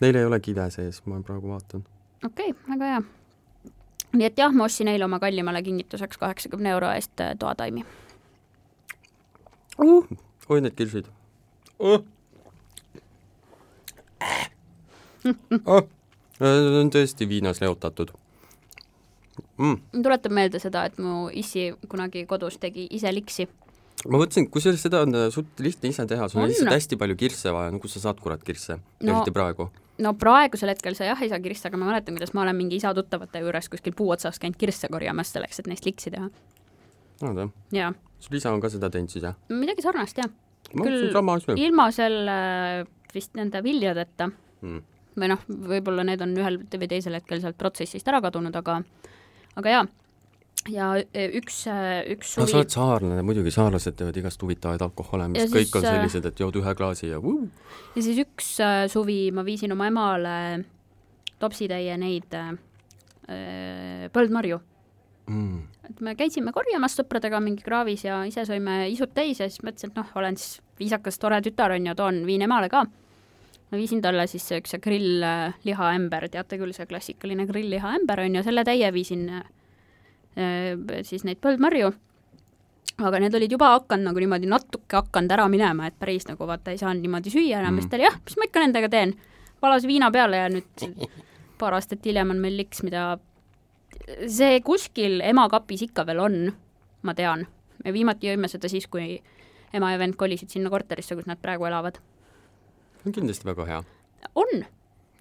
Speaker 3: Neil ei ole kide sees , ma praegu vaatan .
Speaker 2: okei okay, , väga hea . nii et jah , ma ostsin eile oma kallimale kingituseks kaheksakümne euro eest äh, toataimi .
Speaker 3: Uh, oi , need kirsid uh. . Uh. Need on tõesti viinas leotatud mm. .
Speaker 2: tuletab meelde seda , et mu issi kunagi kodus tegi ise liksi .
Speaker 3: ma mõtlesin , kusjuures seda on äh, suht lihtne ise teha , sul on
Speaker 2: On.
Speaker 3: lihtsalt hästi palju kirsse vaja , no kust sa saad kurat kirsse no. ,
Speaker 2: No.
Speaker 3: eriti praegu .
Speaker 2: no praegusel hetkel sa jah ei saa kirsta , aga ma mäletan , kuidas ma olen mingi isa tuttavate juures kuskil puu otsas käinud kirsse korjamas selleks , et neist liksi teha .
Speaker 3: oota ,
Speaker 2: jaa ,
Speaker 3: sul isa on ka seda teinud siis jah ?
Speaker 2: midagi sarnast jah .
Speaker 3: ma
Speaker 2: Küll-
Speaker 3: mõtlesin sama asja .
Speaker 2: ilma selle äh, vist nende viljadeta
Speaker 3: Mm.
Speaker 2: või noh , võib-olla need on ühel või teisel hetkel sealt protsessist ära kadunud , aga , aga jaa . ja ü- üks , üks
Speaker 3: no
Speaker 2: suvi
Speaker 3: sa oled saarlane , muidugi saarlased teevad igast huvitavaid alkohole , mis
Speaker 2: Ja
Speaker 3: siis, kõik
Speaker 2: siis,
Speaker 3: on
Speaker 2: äh,
Speaker 3: sellised , et jood ühe klaasi ja vuu.
Speaker 2: ja siis üks äh, suvi ma viisin oma emale topsitäie neid äh, äh, põldmarju .
Speaker 3: mm. .
Speaker 2: et me käisime korjamas sõpradega mingi kraavis ja ise sõime isud täis ja siis mõtlesin , et noh , olen siis viisakas tore tütar on ju , toon , viin emale ka . ma viisin talle siis see üks see grill-lihaämber , teate küll , see klassikaline grill-lihaämber on ju , selle täie viisin äh, siis neid põldmarju . aga need olid juba hakanud nagu niimoodi natuke hakanud ära minema , et päris nagu vaata ei saanud niimoodi süüa enam mm. , siis ta oli jah , mis ma ikka nendega teen . valas viina peale ja nüüd paar aastat hiljem on meil liks , mida see kuskil ema kapis ikka veel on , ma tean . me viimati jõime seda siis , kui ema ja vend kolisid sinna korterisse , kus nad praegu elavad .
Speaker 3: on kindlasti väga hea .
Speaker 2: on ,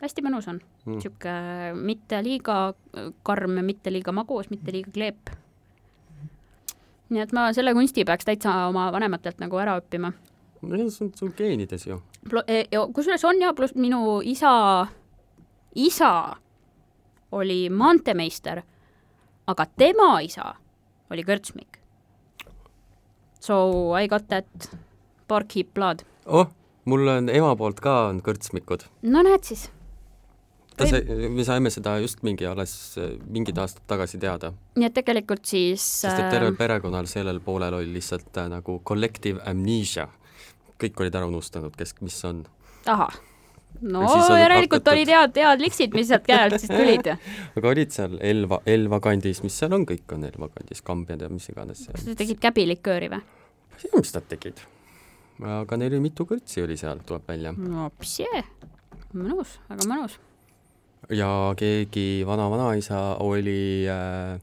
Speaker 2: hästi mõnus on
Speaker 3: Mm.
Speaker 2: mm. . niisugune äh, mitte liiga karm , mitte liiga magus , mitte liiga kleep . nii et ma selle kunsti peaks täitsa oma vanematelt nagu ära õppima .
Speaker 3: see on sul geenides ju .
Speaker 2: kusjuures on ja pluss minu isa , isa oli maanteemeister , aga tema isa oli kõrtsmik . So I got that barkeep blood .
Speaker 3: oh , mul on ema poolt ka on kõrtsmikud .
Speaker 2: no näed siis .
Speaker 3: ta sai , me saime seda just mingi alles äh, mingid aastad tagasi teada ,
Speaker 2: nii et tegelikult siis
Speaker 3: sest et ähm, tervel perekonnal sellel poolel oli lihtsalt äh, nagu collective amnesia . kõik olid ära unustanud , kes , mis on .
Speaker 2: ahah , no
Speaker 3: Ja siis oli
Speaker 2: järelikult
Speaker 3: pakutud-
Speaker 2: oli tead , head liksid , mis sealt käe alt siis tulid .
Speaker 3: aga olid seal Elva , Elva kandis , mis seal on , kõik on Elva kandis , kambjad ja mis iganes seal .
Speaker 2: sa tegid käbilikööri või ?
Speaker 3: ma ei tea , mis nad tegid . aga neil oli mitu kõrtsi oli seal , tuleb välja .
Speaker 2: no psjee , mõnus , väga mõnus .
Speaker 3: ja keegi vana-vanaisa oli äh, ,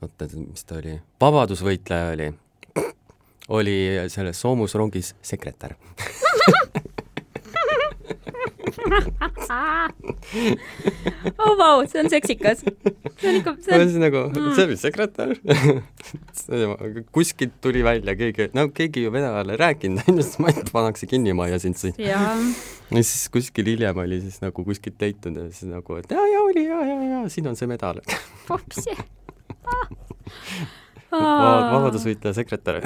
Speaker 3: oota , mis ta oli , vabadusvõitleja oli , oli selles soomusrongis sekretär .
Speaker 2: oh vau , see on seksikas . see on Mm. ikka , see on ,
Speaker 3: ühesõnaga , nagu, see oli sekretär . kuskilt tuli välja keegi , no keegi ju vene ajal ei rääkinud , onju , siis ma ütlen , pannakse kinni maja sind siin .
Speaker 2: jaa ,
Speaker 3: ja siis kuskil hiljem oli siis nagu kuskilt leitud ja siis nagu , et jaa , jaa , oli jaa , jaa , jaa , siin on see medal .
Speaker 2: oh psjee . Ah.
Speaker 3: vabadusvõitleja sekretär .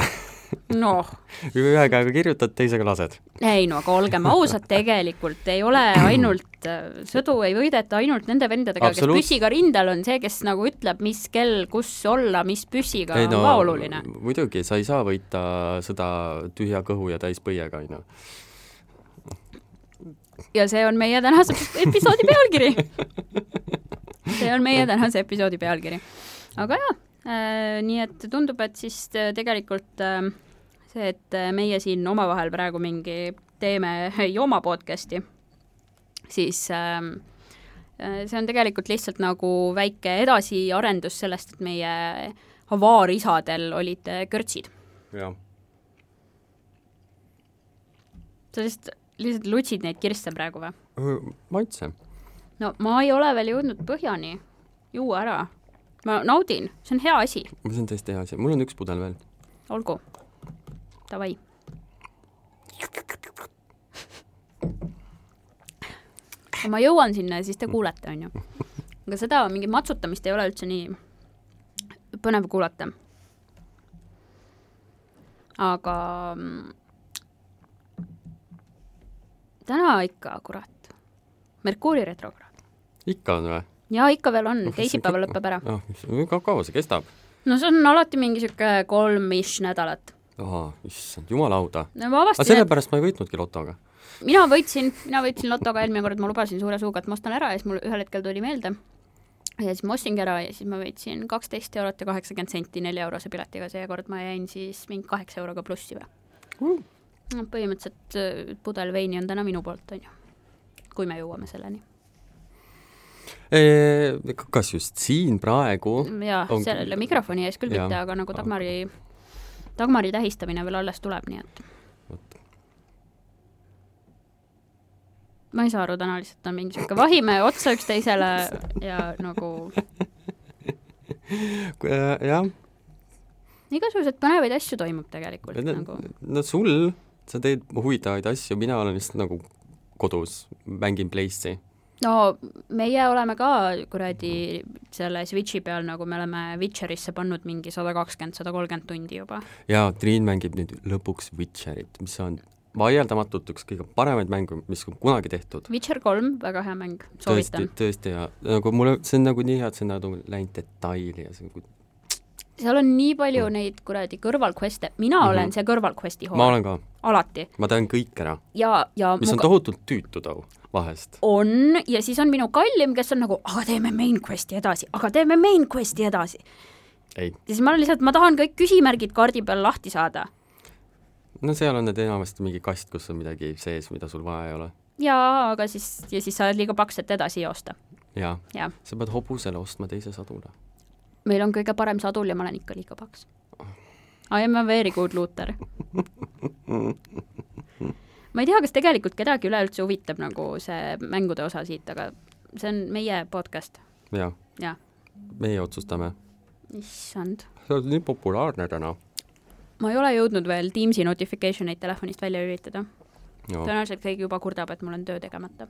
Speaker 2: noh ,
Speaker 3: ühe käega kirjutad , teisega lased .
Speaker 2: ei no aga olgem ausad , tegelikult ei ole ainult , sõdu ei võideta ainult nende vendadega , kes
Speaker 3: Absoluut-
Speaker 2: püssiga rindel on , see , kes nagu ütleb , mis kell , kus olla , mis püssiga ,
Speaker 3: ei
Speaker 2: on ka oluline .
Speaker 3: muidugi , sa ei saa võita sõda tühja kõhu ja täis põiega , onju .
Speaker 2: ja see on meie tänase episoodi pealkiri . see on meie tänase episoodi pealkiri . aga jaa äh, , nii et tundub , et siis äh, tegelikult äh, see , et äh, meie siin omavahel praegu mingi teeme jooma podcast'i , siis äh, äh, see on tegelikult lihtsalt nagu väike edasiarendus sellest , et meie avaarisadel olid äh, kõrtsid .
Speaker 3: jah ,
Speaker 2: sa lihtsalt , lihtsalt lutsid neid kirste praegu või ?
Speaker 3: maitse .
Speaker 2: no ma ei ole veel jõudnud põhjani , juua ära . ma naudin , see on hea asi ,
Speaker 3: see on tõesti hea asi , mul on üks pudel veel .
Speaker 2: olgu . Davai . kui ma jõuan sinna ja siis te kuulete , on ju . aga seda mingit matsutamist ei ole üldse nii põnev kuulata . aga mm, täna ikka , kurat , Merkuuri retrokraad .
Speaker 3: ikka on või ?
Speaker 2: jaa , ikka veel
Speaker 3: Noh,
Speaker 2: on , teisipäeval lõpeb ära .
Speaker 3: ah , kaua kaua see kestab ?
Speaker 2: no see on alati mingi niisugune kolm-ish nädalat .
Speaker 3: ahaa , issand , jumala auda .
Speaker 2: no ma
Speaker 3: aga
Speaker 2: avastasin ,
Speaker 3: sellepärast ma ei võitnudki lotoga .
Speaker 2: et mina võitsin , mina võitsin lotoga eelmine kord , ma lubasin suure suuga , et ma ostan ära ja siis mul ühel hetkel tuli meelde . ja siis ma ostsingi ära ja siis ma võitsin kaksteist eurot ja kaheksakümmend senti nelja eurose piletiga , seekord ma jäin siis mingi kaheksa euroga plussi või . no põhimõtteliselt äh, pudel veini on täna minu poolt , on ju . kui me jõuame selleni .
Speaker 3: kas just siin praegu ?
Speaker 2: jaa
Speaker 3: On- ,
Speaker 2: selle mikrofoni ees küll
Speaker 3: Jaa.
Speaker 2: mitte , aga nagu Dagmari , Dagmari tähistamine veel alles tuleb , nii et
Speaker 3: vot ,
Speaker 2: ma ei saa aru , täna lihtsalt on mingi sihuke vahime otsa üksteisele ja nagu
Speaker 3: äh, jah ,
Speaker 2: igasuguseid põnevaid asju toimub tegelikult nagu .
Speaker 3: no sul , sa teed huvitavaid asju , mina olen lihtsalt nagu kodus , mängin Playsi .
Speaker 2: no meie oleme ka kuradi selle Switchi peal nagu me oleme Witcherisse pannud mingi sada kakskümmend , sada kolmkümmend tundi juba .
Speaker 3: ja Triin mängib nüüd lõpuks Witcherit , mis on vaieldamatult üks kõige paremaid mänge , mis on kunagi tehtud .
Speaker 2: Witcher kolm , väga hea mäng ,
Speaker 3: tõesti
Speaker 2: soovitan .,
Speaker 3: tõesti hea , nagu mulle , see on nagu nii hea , et see on nagu läinud detaili ja see on nagu ,
Speaker 2: seal on nii palju neid kuradi kõrvalquest'e , mina mm -hmm. olen see kõrvalquest'i
Speaker 3: Mm. Mhm. ma
Speaker 2: hool ,
Speaker 3: olen ka ,
Speaker 2: alati .
Speaker 3: ma tean kõik ära ,
Speaker 2: ja , ja
Speaker 3: mis
Speaker 2: mu
Speaker 3: on tohutult tüütu tau vahest .
Speaker 2: on ja siis on minu kallim , kes on nagu , aga teeme main quest'i edasi , aga teeme main quest'i edasi .
Speaker 3: ei ,
Speaker 2: ja siis ma olen lihtsalt , ma tahan kõik küsimärgid kaardi peal lahti saada
Speaker 3: no seal on need enamasti mingi kast , kus on midagi sees , mida sul vaja ei ole .
Speaker 2: jaa , aga siis , ja siis sa oled liiga paks , et edasi joosta .
Speaker 3: jaa ,
Speaker 2: jah ,
Speaker 3: sa pead hobusele ostma teise sadula .
Speaker 2: meil on kõige parem sadul ja ma olen ikka liiga paks . I am a very good looter . ma ei tea , kas tegelikult kedagi üleüldse huvitab nagu see mängude osa siit , aga see on meie podcast
Speaker 3: jaa ,
Speaker 2: ja ,
Speaker 3: meie otsustame .
Speaker 2: issand ,
Speaker 3: sa oled nii populaarne täna
Speaker 2: ma ei ole jõudnud veel Teamsi notification eid telefonist välja lülitada .
Speaker 3: no. .
Speaker 2: tõenäoliselt keegi juba kurdab , et mul on töö tegemata .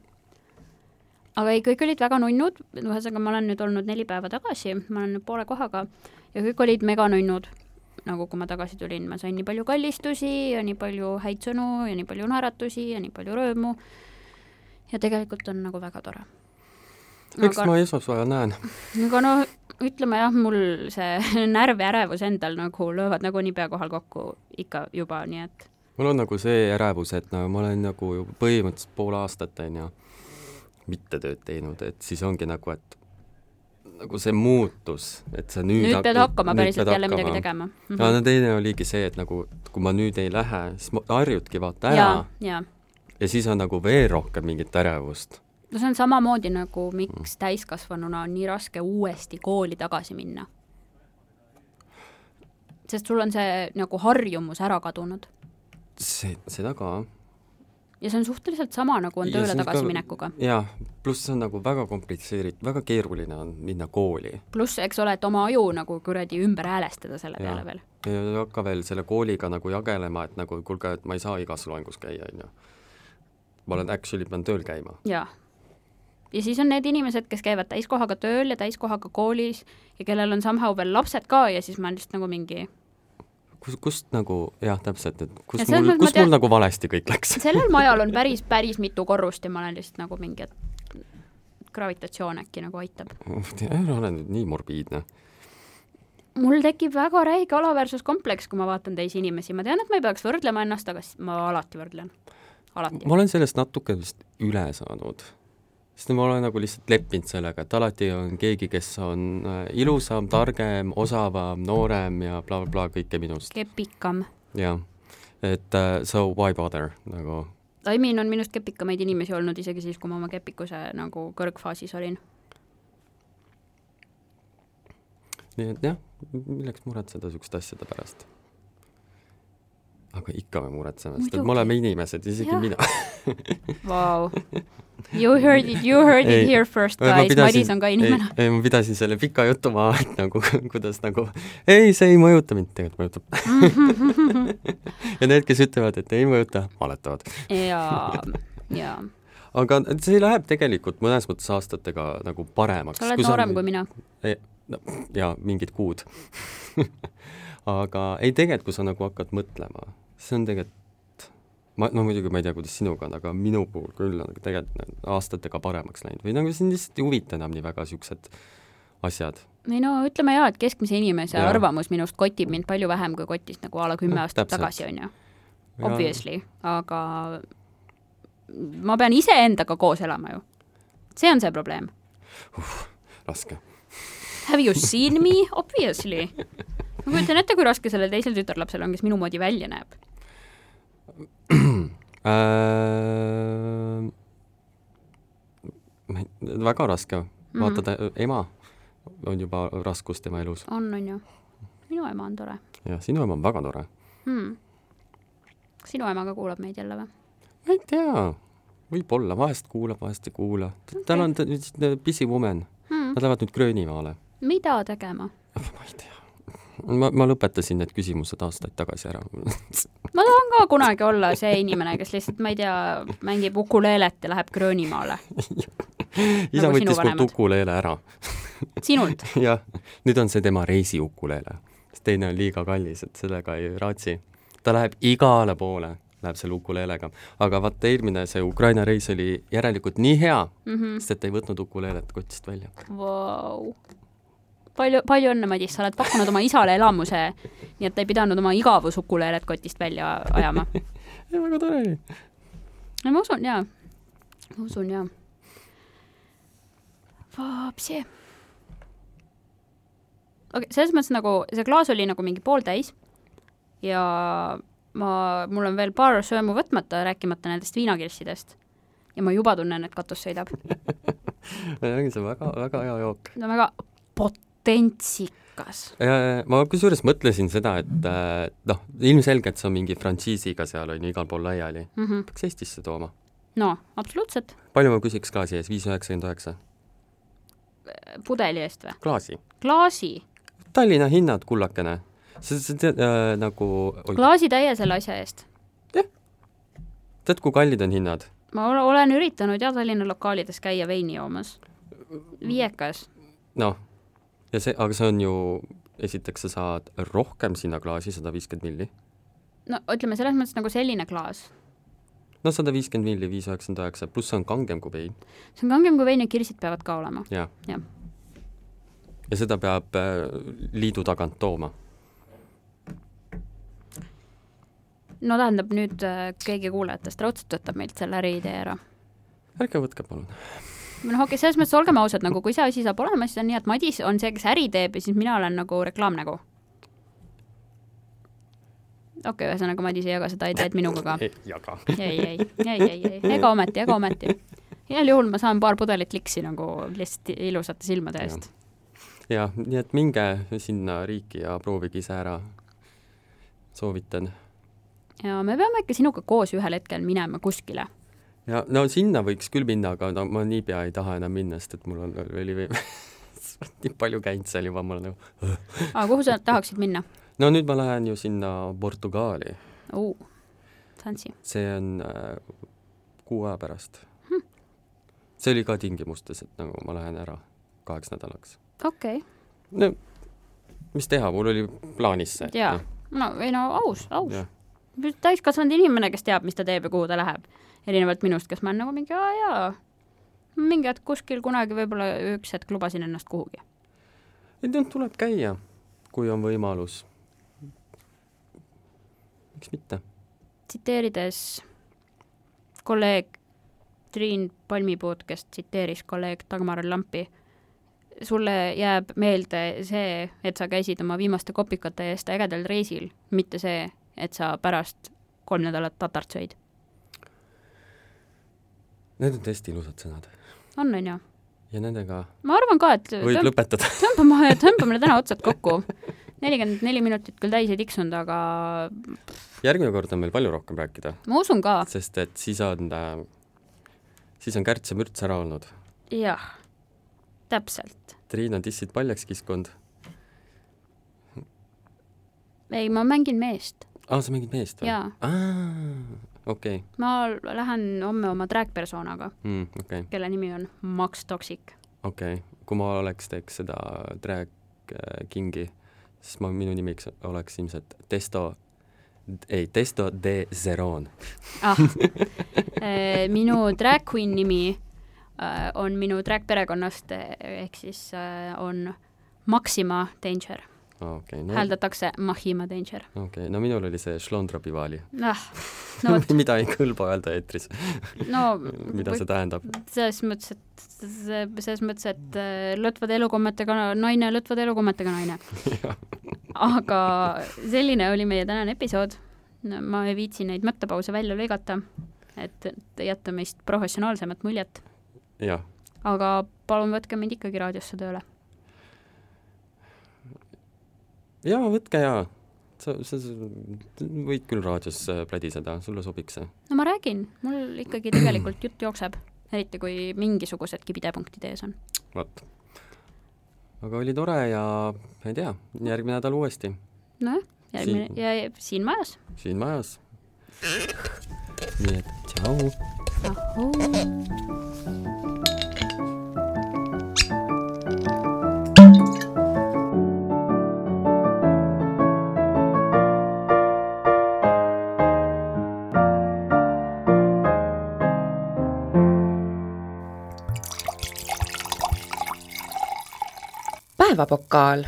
Speaker 2: aga ei , kõik olid väga nunnud , ühesõnaga ma olen nüüd olnud neli päeva tagasi , ma olen nüüd poole kohaga ja kõik olid meganunnud . nagu kui ma tagasi tulin , ma sain nii palju kallistusi ja nii palju häid sõnu ja nii palju naeratusi ja nii palju rõõmu . ja tegelikult on nagu väga tore .
Speaker 3: eks ma esmaspäeval näen .
Speaker 2: aga no ütleme jah , mul see närv ja ärevus endal nagu löövad nagunii pea kohal kokku ikka juba , nii et
Speaker 3: mul on nagu see ärevus , et no ma olen nagu juba põhimõtteliselt pool aastat onju mitte tööd teinud , et siis ongi nagu , et nagu see muutus , et sa nüüd
Speaker 2: nüüd pead hakkama
Speaker 3: nüüd
Speaker 2: päriselt
Speaker 3: pead
Speaker 2: jälle midagi tegema
Speaker 3: hakkama.
Speaker 2: mm
Speaker 3: no, . no teine oligi see , et nagu kui ma nüüd ei lähe , siis ma harjudki vaata ära
Speaker 2: ja
Speaker 3: ja. ,
Speaker 2: ja
Speaker 3: ja siis on nagu veel rohkem mingit ärevust .
Speaker 2: no see on samamoodi nagu miks täiskasvanuna on nii raske uuesti kooli tagasi minna . sest sul on see nagu harjumus ära kadunud
Speaker 3: see , seda ka .
Speaker 2: ja see on suhteliselt sama , nagu on tööle tagasiminekuga .
Speaker 3: jaa , pluss see on nagu väga komplitseeritud , väga keeruline on minna kooli .
Speaker 2: pluss , eks ole , et oma aju nagu kuradi ümber häälestada selle
Speaker 3: ja
Speaker 2: peale veel .
Speaker 3: ei hakka veel selle kooliga nagu jagelema , et nagu kuulge , et ma ei saa igas loengus käia , on ju . ma olen actually , pean tööl käima .
Speaker 2: jaa . ja siis on need inimesed , kes käivad täiskohaga tööl ja täiskohaga koolis ja kellel on somehow veel lapsed ka ja siis ma olen lihtsalt nagu mingi ,
Speaker 3: kus , kust nagu jah , täpselt , et kus
Speaker 2: Ja selles
Speaker 3: mul
Speaker 2: mõttes , ma
Speaker 3: kus
Speaker 2: tean-
Speaker 3: mul nagu valesti kõik läks .
Speaker 2: sellel majal on päris , päris mitu korrust ja ma olen lihtsalt nagu mingi , et gravitatsioon äkki nagu aitab .
Speaker 3: ära ole nüüd nii morbiidne .
Speaker 2: mul tekib väga räige alaväärsuskompleks , kui ma vaatan teisi inimesi , ma tean , et ma ei peaks võrdlema ennast , aga s- ma alati võrdlen . alati .
Speaker 3: ma olen sellest natuke vist üle saanud , sest ma olen nagu lihtsalt leppinud sellega , et alati on keegi , kes on äh, ilusam , targem , osavam , noorem ja blablabla bla, kõike minust ,
Speaker 2: kepikam .
Speaker 3: jah . et äh, so why bother nagu ,
Speaker 2: I mean , on minust kepikamaid inimesi olnud isegi siis , kui ma oma kepikuse nagu kõrgfaasis olin .
Speaker 3: nii et jah , milleks muretseda niisuguste asjade pärast ? aga ikka me muretseme , sest et me
Speaker 2: Muidugi.
Speaker 3: oleme inimesed , isegi
Speaker 2: Jah.
Speaker 3: mina .
Speaker 2: Vau . You heard it , you heard it
Speaker 3: Ei.
Speaker 2: here first
Speaker 3: Ma
Speaker 2: guys ,
Speaker 3: pidasin-
Speaker 2: Madis on ka inimene .
Speaker 3: ei , ma pidasin selle pika jutu maha , et nagu kuidas nagu ei , see ei mõjuta mind , tegelikult mõjutab . ja need , kes ütlevad , et ei mõjuta , valetavad .
Speaker 2: jaa , jaa .
Speaker 3: aga see läheb tegelikult mõnes mõttes aastatega nagu paremaks .
Speaker 2: sa oled noorem kui mina .
Speaker 3: mina . jaa , mingid kuud . aga ei , tegelikult kui sa nagu hakkad mõtlema , see on tegelikult ma , no muidugi ma ei tea , kuidas sinuga on , aga minu puhul küll on tegelikult aastatega paremaks läinud või nagu sind lihtsalt ei huvita enam nii väga niisugused asjad .
Speaker 2: ei no ütleme jaa , et keskmise inimese
Speaker 3: Jaa.
Speaker 2: arvamus minust kotib mind palju vähem , kui kotis nagu a la kümme
Speaker 3: Noh,
Speaker 2: aastat
Speaker 3: täpselt.
Speaker 2: tagasi , on ju . obviously , aga ma pean iseendaga koos elama ju . see on see probleem .
Speaker 3: raske .
Speaker 2: Have you seen me ? Obviously . ma kujutan ette , kui raske sellel teisel tütarlapsel on , kes minu moodi välja näeb .
Speaker 3: Äh, väga raske mm , -hmm.
Speaker 2: Mhm.
Speaker 3: vaata ta ema on juba raskus tema elus
Speaker 2: on , on ju . minu ema on tore
Speaker 3: ja sinu ema on väga tore .
Speaker 2: hmm. . sinu ema ka kuulab meid jälle või ?
Speaker 3: ma ei tea , võib-olla , vahest kuulab , vahest ei kuula . tal on ta, busy woman
Speaker 2: Hmm.
Speaker 3: hmm. , nad lähevad nüüd Gröönimaale .
Speaker 2: mida tegema ?
Speaker 3: ma ei tea , ma , ma lõpetasin need küsimused aastaid tagasi ära .
Speaker 2: ma tahan ka kunagi olla see inimene , kes lihtsalt , ma ei tea , mängib ukuleelet ja läheb Gröönimaale .
Speaker 3: isa
Speaker 2: Nagu sinu
Speaker 3: nagu võttis mult
Speaker 2: vanemad.
Speaker 3: ukuleele ära
Speaker 2: sinult .
Speaker 3: jah , nüüd on see tema reisi ukuleele , sest teine on liiga kallis , et sellega ei raatsi . ta läheb igale poole , läheb selle ukuleelega , aga vaata eelmine see Ukraina reis oli järelikult nii hea mm , -hmm. sest et ei võtnud ukuleelet kotist välja .
Speaker 2: Mhm. Vau . palju , palju õnne , Madis , sa oled pakkunud oma isale elamuse , nii et ta ei pidanud oma igavusukuleelet kotist välja ajama .
Speaker 3: ei , väga tore oli .
Speaker 2: no ma usun jaa , ma usun jaa . Vapsi . okei okay, , selles mõttes nagu see klaas oli nagu mingi pooltäis ja ma , mul on veel paar söömu võtmata , rääkimata nendest viinakirssidest . ja ma juba tunnen , et katus sõidab .
Speaker 3: ma räägin , see on väga , väga hea jook .
Speaker 2: ta on väga potentsikas
Speaker 3: ma kusjuures mõtlesin seda , et äh, noh , ilmselgelt see on mingi frantsiisiga seal on ju igal pool laiali .
Speaker 2: mm . -hmm.
Speaker 3: peaks Eestisse tooma .
Speaker 2: no absoluutselt ,
Speaker 3: palju ma küsiks klaasi ees , viis üheksakümmend üheksa ?
Speaker 2: pudeli eest või ?
Speaker 3: klaasi .
Speaker 2: klaasi ,
Speaker 3: Tallinna hinnad , kullakene . sa , sa tead äh, nagu ,
Speaker 2: klaasitäie selle asja eest .
Speaker 3: tead , kui kallid on hinnad ?
Speaker 2: ma ole- olen üritanud ja Tallinna lokaalides käia veini joomas . viiekas .
Speaker 3: noh , ja see , aga see on ju , esiteks sa saad rohkem sinna klaasi , sada viiskümmend milli .
Speaker 2: no ütleme selles mõttes nagu selline klaas .
Speaker 3: no sada viiskümmend milli , viis üheksakümmend üheksa , pluss see on kangem kui vein ,
Speaker 2: see on kangem kui vein ja kirsid peavad ka olema .
Speaker 3: jah .
Speaker 2: Jah.
Speaker 3: ja seda peab äh, liidu tagant tooma .
Speaker 2: no tähendab , nüüd äh, keegi kuulajatest raudselt võtab meilt selle äriidee ära .
Speaker 3: ärge võtke palun .
Speaker 2: noh , okei okay, , selles mõttes olgem ausad , nagu kui see asi saab olema , siis on nii , et Madis on see , kes äri teeb ja siis mina olen nagu reklaamnägu . okei okay, , ühesõnaga Madis ei jaga seda ideed minuga ka .
Speaker 3: E, jaga .
Speaker 2: ei , ei , ei , ei , ei , ega ometi , ega ometi . heal juhul ma saan paar pudelit liksi nagu lihtsalt ilusate silmade eest .
Speaker 3: jah , nii et minge sinna riiki ja proovige ise ära . soovitan .
Speaker 2: ja me peame ikka sinuga koos ühel hetkel minema kuskile .
Speaker 3: ja no sinna võiks küll minna , aga no ma niipea ei taha enam minna , sest et mul on veel nii palju käinud seal juba , ma olen nagu
Speaker 2: aga kuhu sa tahaksid minna
Speaker 3: no nüüd ma lähen ju sinna Portugaali ,
Speaker 2: uh, ? Sansi ,
Speaker 3: see on äh, kuu aja pärast hm. . see oli ka tingimustes , et nagu ma lähen ära kaheks nädalaks .
Speaker 2: okei okay. ,
Speaker 3: no mis teha , mul oli plaanis see . noh,
Speaker 2: jaa . no ei no aus , aus . täiskasvanud inimene , kes teab , mis ta teeb ja kuhu ta läheb . erinevalt minust , kes ma olen nagu mingi aa jaa , mingi hetk kuskil kunagi võib-olla üks hetk lubasin ennast kuhugi .
Speaker 3: et nüüd noh, tuleb käia , kui on võimalus . miks mitte ?
Speaker 2: tsiteerides kolleeg Triin Palmipuud , kes tsiteeris kolleeg Dagmar Lampi , sulle jääb meelde see , et sa käisid oma viimaste kopikate eest ägedal reisil , mitte see , et sa pärast kolm nädalat tatart sõid .
Speaker 3: Need on tõesti ilusad sõnad
Speaker 2: on , on ju ?
Speaker 3: ja nendega
Speaker 2: ma arvan ka , et
Speaker 3: võid
Speaker 2: tõmb-
Speaker 3: lõpetada .
Speaker 2: tõmbame , tõmbame täna otsad kokku . nelikümmend neli minutit küll täis ei tiksunud , aga
Speaker 3: järgmine kord on meil palju rohkem rääkida ,
Speaker 2: ma usun ka ,
Speaker 3: sest et siis on äh, , siis on Kärts ja Mürts ära olnud .
Speaker 2: jah , täpselt .
Speaker 3: Triin on dissid paljaks kiskunud .
Speaker 2: ei , ma mängin meest
Speaker 3: aa , Ah, sa mängid meest või ?
Speaker 2: ja
Speaker 3: okei ,
Speaker 2: ma lähen homme oma track-persoonaga ,
Speaker 3: okei ,
Speaker 2: kelle nimi on Max Toxic .
Speaker 3: okei , kui ma oleks , teeks seda drag äh, king'i , siis ma , minu nimiks oleks ilmselt Testo , ei , Testo de Zeron .
Speaker 2: ah eh, , minu drag queen nimi eh, on minu drag perekonnast eh, ehk siis eh, on Maxima Danger ,
Speaker 3: okei , no okei
Speaker 2: hääldatakse Mahima Danger .
Speaker 3: okay, , no minul oli see Šlondra Pivali
Speaker 2: ah , no vot ,
Speaker 3: mida ei kõlba öelda eetris ,
Speaker 2: no
Speaker 3: mida see tähendab .
Speaker 2: selles mõttes , et see- selles mõttes , et äh, lõtvade elukommetega naine , lõtvade elukommetega naine . aga selline oli meie tänane episood . ma ei viitsi neid mõttepause välja lõigata , et et jätta meist professionaalsemat muljet ,
Speaker 3: jah ,
Speaker 2: aga palun võtke mind ikkagi raadiosse tööle .
Speaker 3: ja võtke ja , sa , sa , sa võid küll raadios äh, plädiseda , sulle sobiks see .
Speaker 2: no ma räägin , mul ikkagi tegelikult jutt jookseb , eriti kui mingisugusedki pidepunktid ees on .
Speaker 3: vot . aga oli tore ja ma ei tea , järgmine nädal uuesti
Speaker 2: nojah , Noh, järgmine
Speaker 3: Siin-
Speaker 2: ja ja siin majas .
Speaker 3: siin majas . nii et tšau .
Speaker 2: ahoo .
Speaker 1: päevapokaal